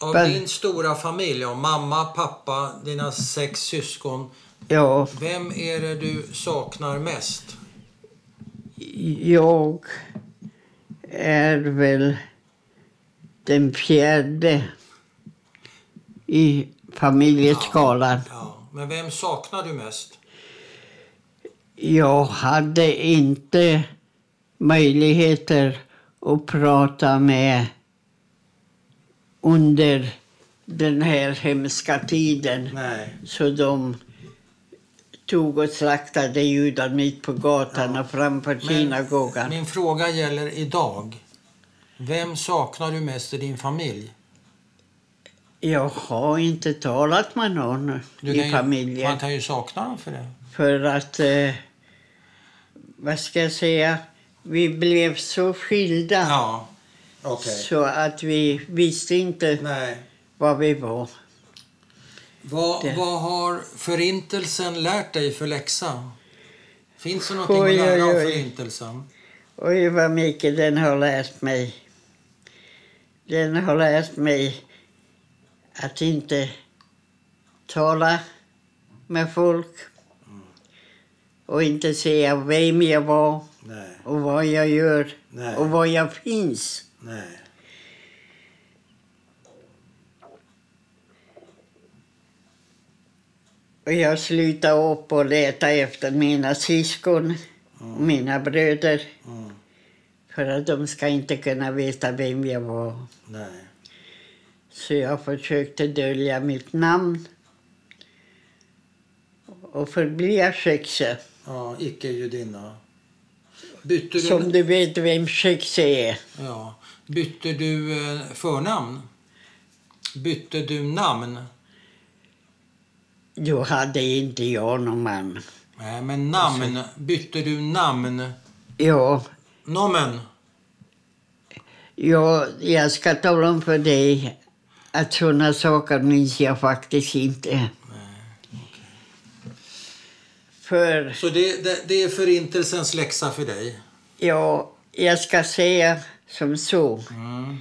S2: Av
S1: Väl-
S2: din stora familj, av mamma, pappa, dina sex syskon.
S1: ja,
S2: Vem är det du saknar mest?
S1: jag är väl den fjärde i familjeskalan.
S2: Ja. Men vem saknar du mest?
S1: Jag hade inte möjligheter att prata med under den här hemska tiden.
S2: Nej.
S1: Så de tog och slaktade judar mitt på gatan och framför synagogan.
S2: Min fråga gäller idag. Vem saknar du mest i din familj?
S1: Jag har inte talat med någon
S2: Du kan
S1: i
S2: ju-
S1: familjen.
S2: Man kan ju sakna dem för det.
S1: För att... Eh, vad ska jag säga? Vi blev så skilda.
S2: Ja. Okej.
S1: Så att vi visste inte
S2: Nej.
S1: var vi var.
S2: Vad,
S1: Det-
S2: vad har Förintelsen lärt dig för läxa? Finns det någonting
S1: Oj,
S2: att lära
S1: oj,
S2: av
S1: oj.
S2: Förintelsen?
S1: Oj, vad mycket den har lärt mig. Den har lärt mig att inte tala med folk och inte säga vem jag var
S2: Nej.
S1: och vad jag gör
S2: Nej.
S1: och var jag finns.
S2: Nej.
S1: Och jag slutade upp och leta efter mina syskon, mina bröder.
S2: Mm.
S1: För att de ska inte kunna veta vem jag var.
S2: Nej.
S1: Så jag försökte dölja mitt namn och förbli Aschexe.
S2: Ja, icke-judinna. Bytte du,
S1: Som du vet vem Schexe är.
S2: ja, bytte du eh, förnamn? Bytte du namn?
S1: Då hade inte jag någon man.
S2: Nej, men namn. Bytte du namn?
S1: Ja,
S2: Nomen.
S1: ja, jag ska tala om för dig att såna saker minns jag faktiskt inte. För
S2: Så det, det, det är förintelsens läxa för dig?
S1: ja, jag ska säga som så.
S2: Mm.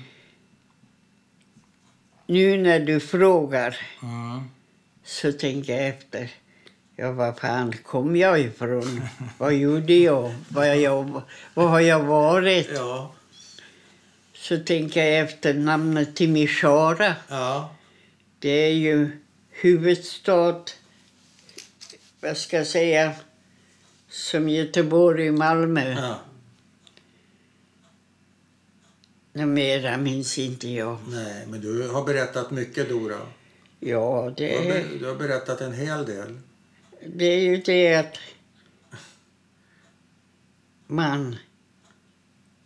S1: Nu när du frågar
S2: Mm.
S1: så tänker jag efter. Ja, var fan kom jag ifrån? Vad gjorde jag? Vad, har jag? vad har jag varit?
S2: Ja.
S1: Så tänker jag efter namnet Timisoara.
S2: Ja.
S1: Det är ju huvudstad, vad ska jag säga, som Göteborg och Malmö.
S2: ja.
S1: Något mera minns inte jag.
S2: Nej, men du har berättat mycket, Dora.
S1: Ja,
S2: Du
S1: det
S2: har,
S1: är,
S2: ber- du har berättat en hel del.
S1: det är ju det att man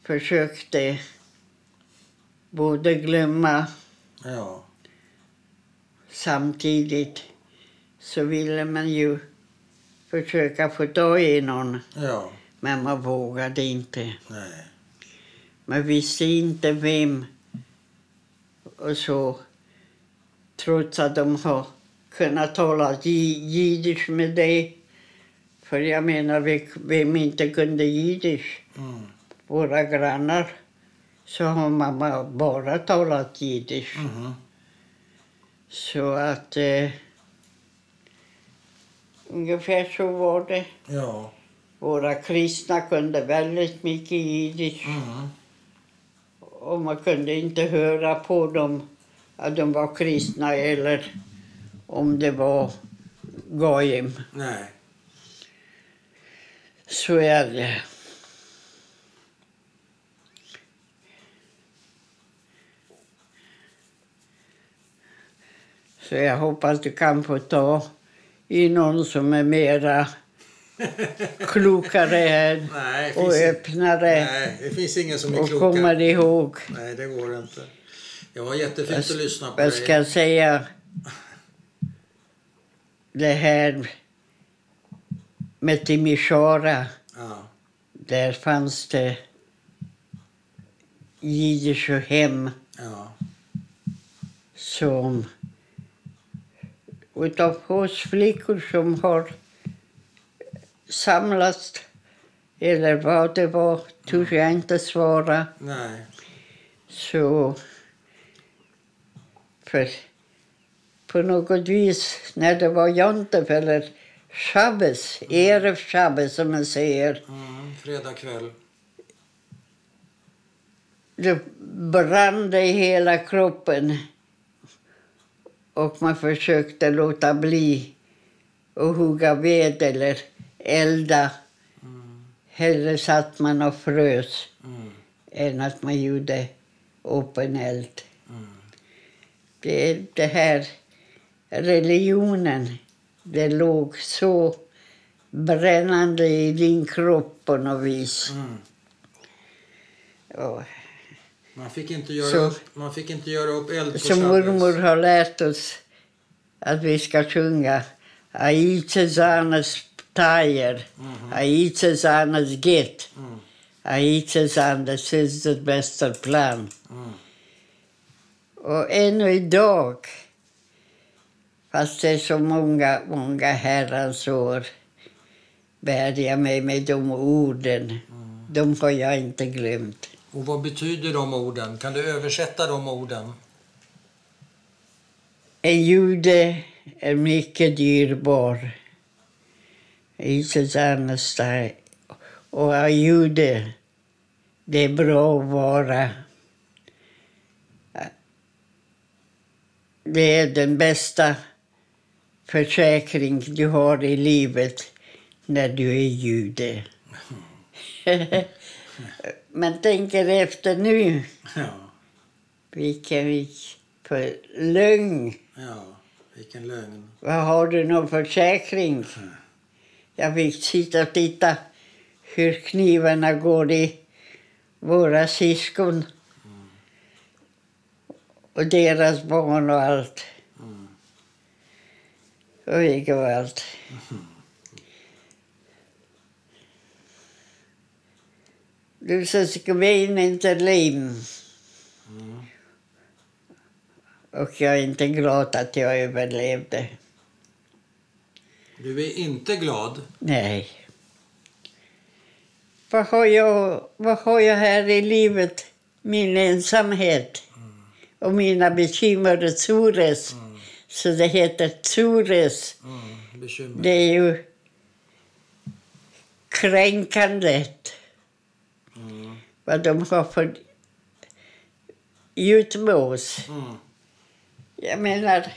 S1: försökte både glömma
S2: Ja.
S1: samtidigt så ville man ju försöka få tag i någon,
S2: Ja.
S1: men man vågade inte.
S2: Nej.
S1: Man visste inte vem. Och så, trots att de har kunnat tala ji- jiddisch med dig. För jag menar, vi- vem inte kunde jiddisch?
S2: Mm.
S1: Våra grannar. Så har mamma bara talat jiddisch.
S2: Mhm.
S1: Så att... Eh, ungefär så var det.
S2: Ja.
S1: Våra kristna kunde väldigt mycket jiddisch.
S2: Mm.
S1: och man kunde inte höra på dem att de var kristna eller om det var gojim.
S2: Nej.
S1: Så är det. Så jag hoppas du kan få ta i någon som är mera klokare här
S2: Nej, det
S1: och
S2: finns,
S1: öppnare
S2: nej, det finns ingen som är
S1: och
S2: klokare.
S1: kommer ihåg.
S2: Nej, det går inte. Det var jättefint Typ att lyssna på
S1: Jag
S2: dig.
S1: ska säga det här med Timisoara.
S2: Ja.
S1: Där fanns det jiddisch och hem
S2: Ja.
S1: som utav oss flickor som har samlats eller vad det var, törs jag inte svara.
S2: Nej.
S1: Så... För på något vis, när det var Jontef eller Shabbes, Erev Shabbes som man säger,
S2: Mm. Fredag kväll.
S1: det brann det i hela kroppen. Och man försökte låta bli att hugga ved eller elda. Hellre satt man och frös.
S2: Mm.
S1: än att man gjorde open eld.
S2: Mm.
S1: Det, är eh, det här religionen, det låg så brännande i din kropp på något vis.
S2: Mm.
S1: Och,
S2: Man fick inte göra
S1: Så-
S2: upp, man fick inte göra upp eld på
S1: som
S2: Shabbos.
S1: mormor har lärt oss att vi ska sjunga Aitzesanes tajer, Aitzesanes get,
S2: Mm.
S1: Aitzesanes syster bästa plan.
S2: Mm.
S1: Och ännu idag, fast det är så många, många herrans år, bär jag mig med de orden. De har jag inte glömt.
S2: Och vad betyder de orden? Kan du översätta de orden?
S1: En jude är mycket dyrbar. Jesus Anastai. Och en jude, det är bra att vara. Det är den bästa försäkring du har i livet när du är jude. Men tänker efter nu,
S2: Ja,
S1: vilken vik- för lögn.
S2: ja. Vilken lögn.
S1: Vad har du någon försäkring? Jag fick sitta och titta hur knivarna går i våra syskon och deras barn och allt. Och vilket var allt. Du sa skvin inte lim. Och jag är inte glad att jag överlevde.
S2: Du är inte glad.
S1: Nej. Vad har jag, vad har jag här i livet? Min ensamhet och mina bekymrade tsures. Så det heter tsures.
S2: Mm, bekymmer.
S1: Det är ju kränkandet. Vad de har för utmås.
S2: Mm.
S1: Jag menar,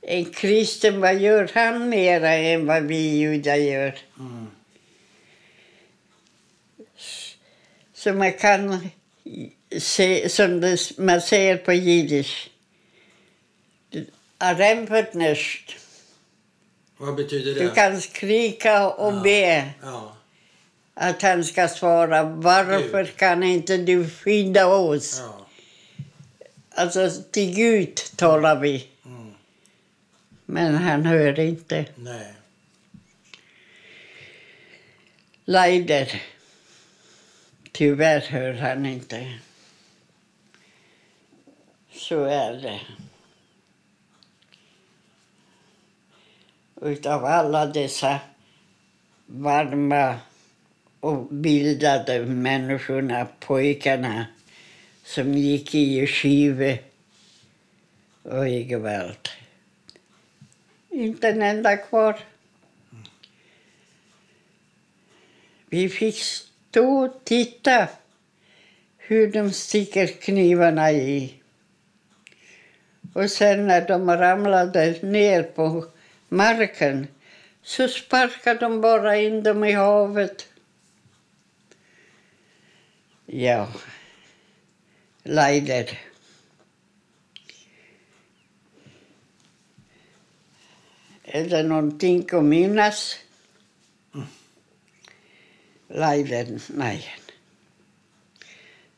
S1: en kristen, vad gör han mera än vad vi judar gör?
S2: Mm.
S1: Så man kan se, som det, man säger på jiddisch, arempetnest.
S2: Vad betyder det?
S1: Du kan skrika och be
S2: Ja,
S1: att han ska svara. Varför kan inte du skydda oss?
S2: ja.
S1: Alltså, till Gud talar vi.
S2: Mm.
S1: Men han hör inte.
S2: Nej.
S1: Leider. Tyvärr hör han inte. Så är det. Utav alla dessa varma och bildade människorna, pojkarna som gick i yeshiva och i gevalt. Inte en enda kvar. Vi fick stå och titta hur de sticker knivarna i. Och sen när de ramlade ner på marken så sparkade de bara in dem i havet. Ja, Leider. Är det någonting att minnas? Leiden, nein.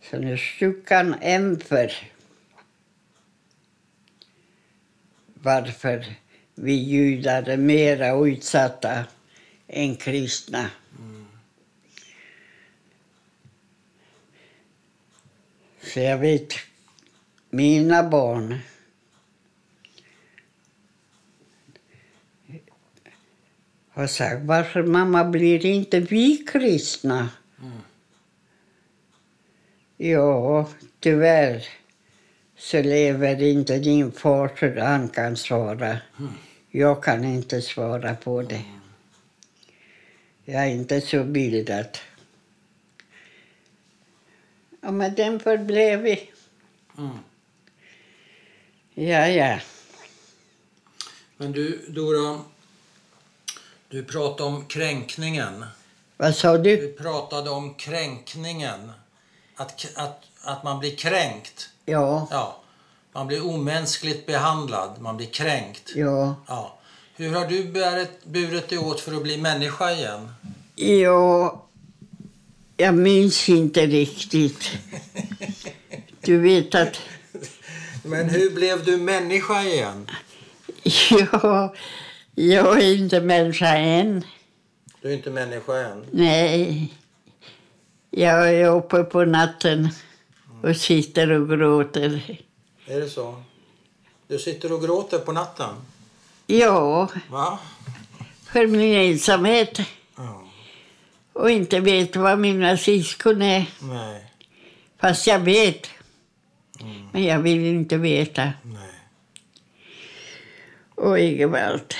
S1: Så nu Stückan Ämpfer. Varför vi judar är mera utsatta än kristna. Mm. Så jag vet, mina barn har sagt varför mamma blir inte vi kristna? Ja, tyvärr så lever inte din far så han kan svara. Jag kan inte svara på det. Jag är inte så bildad. Ja, men den förblev vi.
S2: Mm.
S1: Ja, ja.
S2: Men du, Dora. Du pratade om kränkningen.
S1: Vad sa du?
S2: Du pratade om kränkningen. Att, k- att, att man blir kränkt.
S1: Ja,
S2: Ja. Man blir omänskligt behandlad. Man blir kränkt.
S1: ja.
S2: Ja. Hur har du burit, burit dig åt för att bli människa igen?
S1: Ja, jag minns inte riktigt. Du vet att...
S2: Men hur blev du människa igen?
S1: Ja, jag är inte människa än.
S2: Du är inte människa än.
S1: Nej. Jag är uppe på natten och sitter och gråter.
S2: Är det så? Du sitter och gråter på natten.
S1: Ja,
S2: Va?
S1: för min ensamhet
S2: Ja.
S1: och inte vet vad mina syskon är.
S2: Nej.
S1: Fast jag vet. Men jag vill inte veta.
S2: Nej.
S1: och Egervald.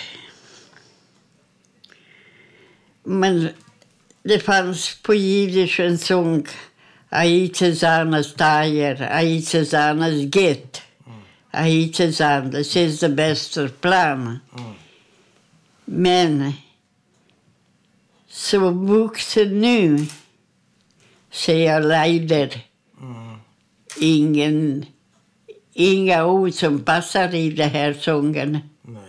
S1: Men det fanns på jiddisch en sång, Aitzesanas Tajer, Aitzesanas Get, hittills andra, since the Västerplan. Men så vuxen nu så jag lider. Ingen, inga ord som passar i den här sången,
S2: Nej,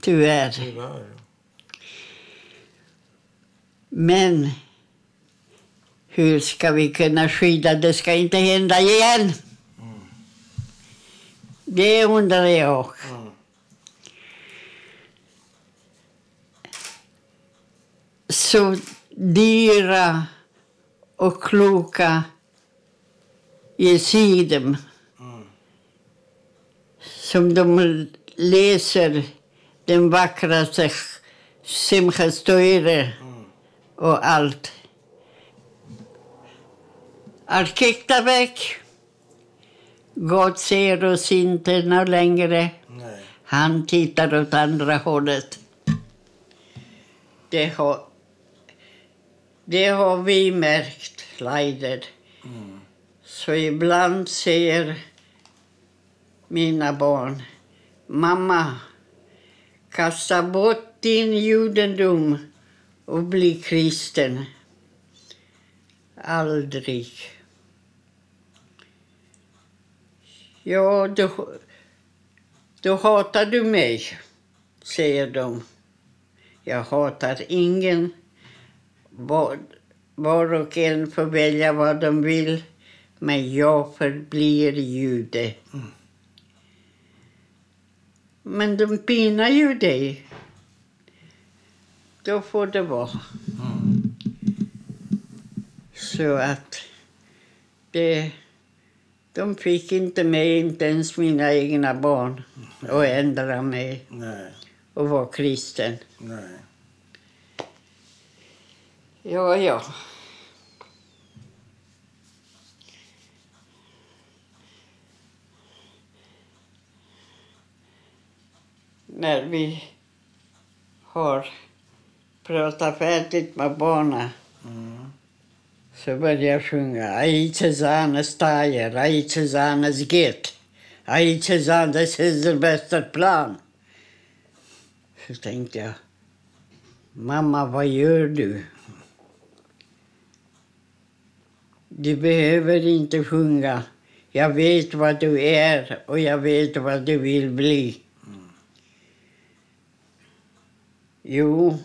S1: tyvärr.
S2: tyvärr.
S1: Men hur ska vi kunna skydda? Det ska inte hända igen. Det undrar jag.
S2: Mm.
S1: Så dyra och kloka Jesidem som de läser den vackraste Simchas Toire och allt. Arkektabäck. Gott ser oss inte nå längre.
S2: Nej.
S1: Han tittar åt andra hållet. Det har, det har vi märkt, Leider. Så ibland säger mina barn, mamma, kasta bort din judendom och bli kristen. Aldrig. Ja, då, då hatar du mig, säger de. Jag hatar ingen. Var, var och en får välja vad de vill, men jag förblir jude. Men de pinar ju dig. Då får det vara. Så att det... De fick inte med, inte ens mina egna barn, att ändra mig
S2: Nej.
S1: och vara kristen.
S2: Nej.
S1: Ja, ja. När vi har pratat färdigt med barnen
S2: Mm.
S1: så började jag sjunga Aitsezanes tajer, Aitsezanes get, Aitsezanes Hesselvästerplan. Så tänkte jag, mamma vad gör du? Du behöver inte sjunga. Jag vet vad du är och jag vet vad du vill bli. Jo,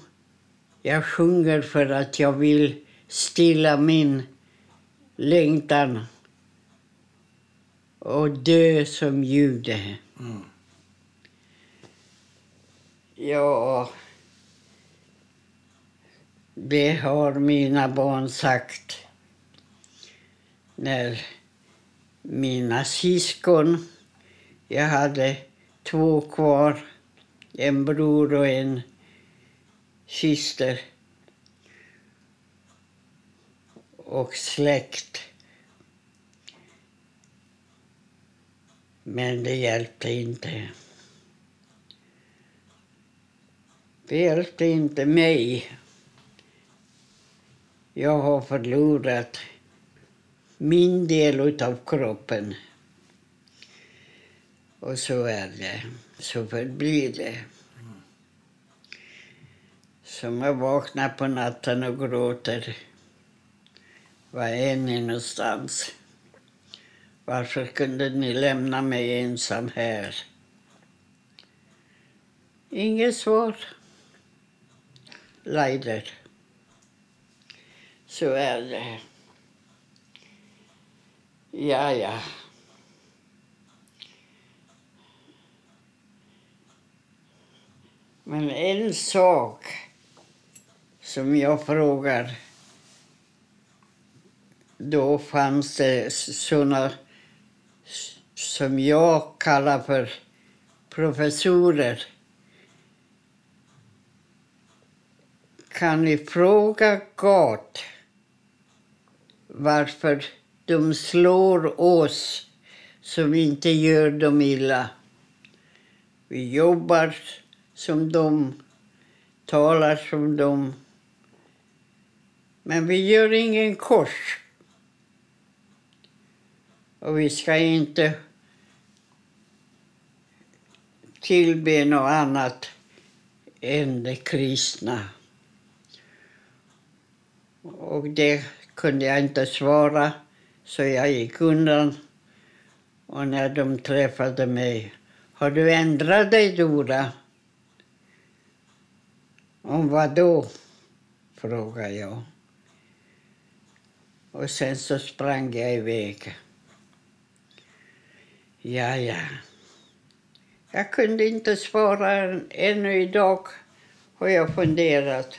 S1: jag sjunger för att jag vill stilla min längtan och dö som jude.
S2: Mm.
S1: Ja, det har mina barn sagt när mina syskon, jag hade två kvar, en bror och en syster och släkt. Men det hjälpte inte. Det hjälpte inte mig. Jag har förlorat min del utav kroppen. Och så är det. Så förblir det. Som jag vaknar på natten och gråter. Var är ni någonstans? Varför kunde ni lämna mig ensam här? Inget svar. Leider. Så är det. Ja, ja. Men en sak som jag frågar. Då fanns det sådana som jag kallar för professorer. Kan ni fråga Gud varför de slår oss som inte gör dem illa? Vi jobbar som de, talar som de. Men vi gör ingen kors. Och vi ska inte tillbe något annat än det kristna. Och det kunde jag inte svara, så jag gick undan. Och när de träffade mig, har du ändrat dig Dora? Om vad då? frågade jag. Och sen så sprang jag iväg. Ja, ja. Jag kunde inte svara än- ännu idag har jag funderat.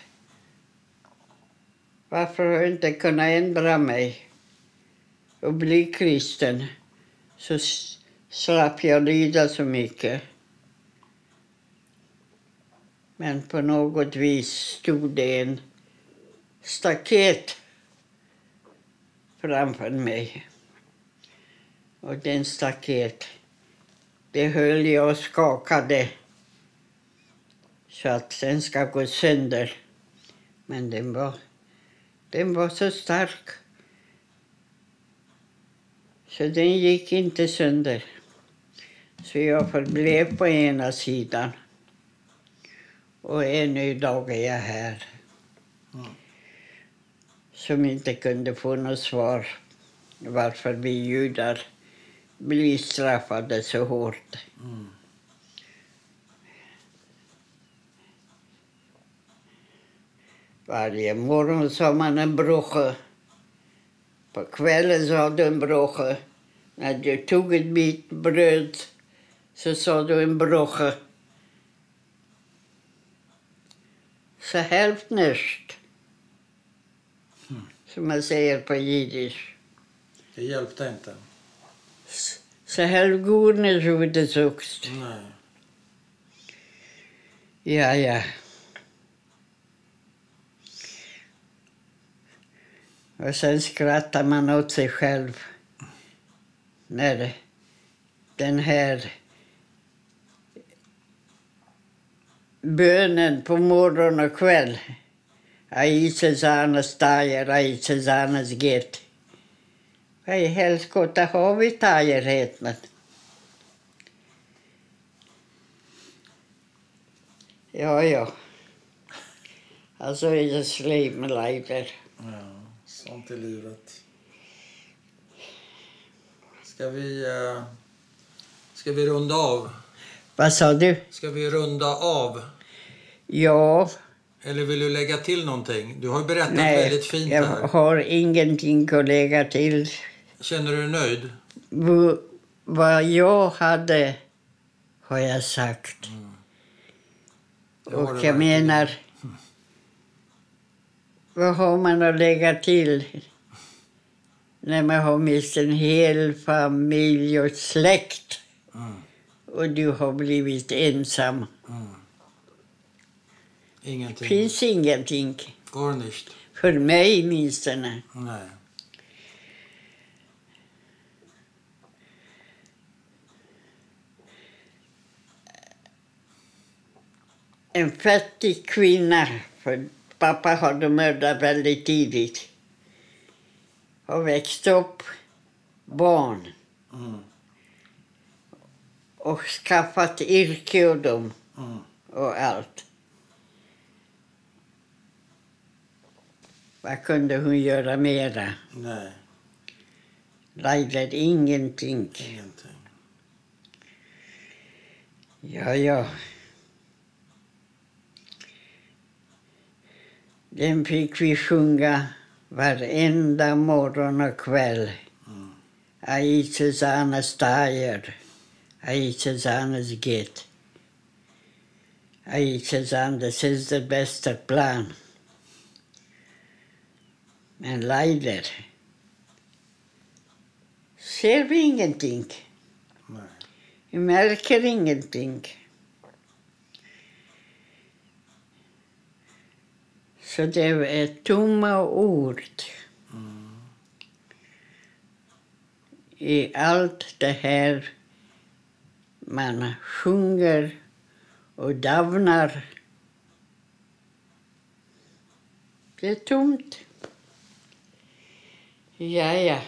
S1: Varför har jag inte kunnat ändra mig och bli kristen? Så s- slapp jag lida så mycket. Men på något vis stod det en staket framför mig. Och den staket, det höll jag och skakade så att den ska gå sönder. Men den var, den var så stark så den gick inte sönder. Så jag förblev på ena sidan. Och ännu idag är jag här. Som inte kunde få något svar varför vi judar blir straffade så hårt. Varje morgon sa man en broche. På kvällen sa du en broche. När du tog ett bit bröd så sa du en broche. Så hälftenest. Som man säger på jiddisch.
S2: Det hjälpte inte.
S1: Så helgones wurde suchst.
S2: Nej.
S1: Ja, ja. Och sen skrattar man åt sig själv när den här bönen på morgon och kväll. Aises anastajer, aises anas get. Vad i helskotta har vi tajerheten? Ja, ja. Alltså, i det slimliver.
S2: Ja, sånt är livet. Ska vi, eh, ska vi runda av?
S1: Vad sa du?
S2: Ska vi runda av?
S1: Ja,
S2: Eller vill du lägga till någonting? Du har ju berättat
S1: nej,
S2: väldigt fint
S1: jag
S2: här.
S1: har ingenting att lägga till.
S2: Känner du dig nöjd?
S1: V- Vad jag hade har jag sagt.
S2: Mm. Det har
S1: Och
S2: du
S1: jag
S2: verkligen.
S1: menar, vad har man att lägga till när man har mist en hel familj och släkt
S2: Mm.
S1: och du har blivit ensam?
S2: Ingenting.
S1: finns ingenting,
S2: Går nicht.
S1: för mig åtminstone.
S2: Nej.
S1: En fattig kvinna, för pappa hade mördat väldigt tidigt. Har växt upp barn
S2: Mm.
S1: och skaffat yrke och dem
S2: Mm.
S1: och allt. Vad kunde hon göra mera?
S2: Nej,
S1: Laila, ingenting.
S2: ingenting.
S1: Ja, ja. Den fick vi sjunga varenda morgon och kväll. Aises Anastajer, Aises Anas Get. Aises Anders is det bästa plan. Men Leider ser vi ingenting.
S2: Nej.
S1: Vi märker ingenting. Så det är tomma ord. I allt det här man sjunger och davnar. Det är tomt. Ja, ja.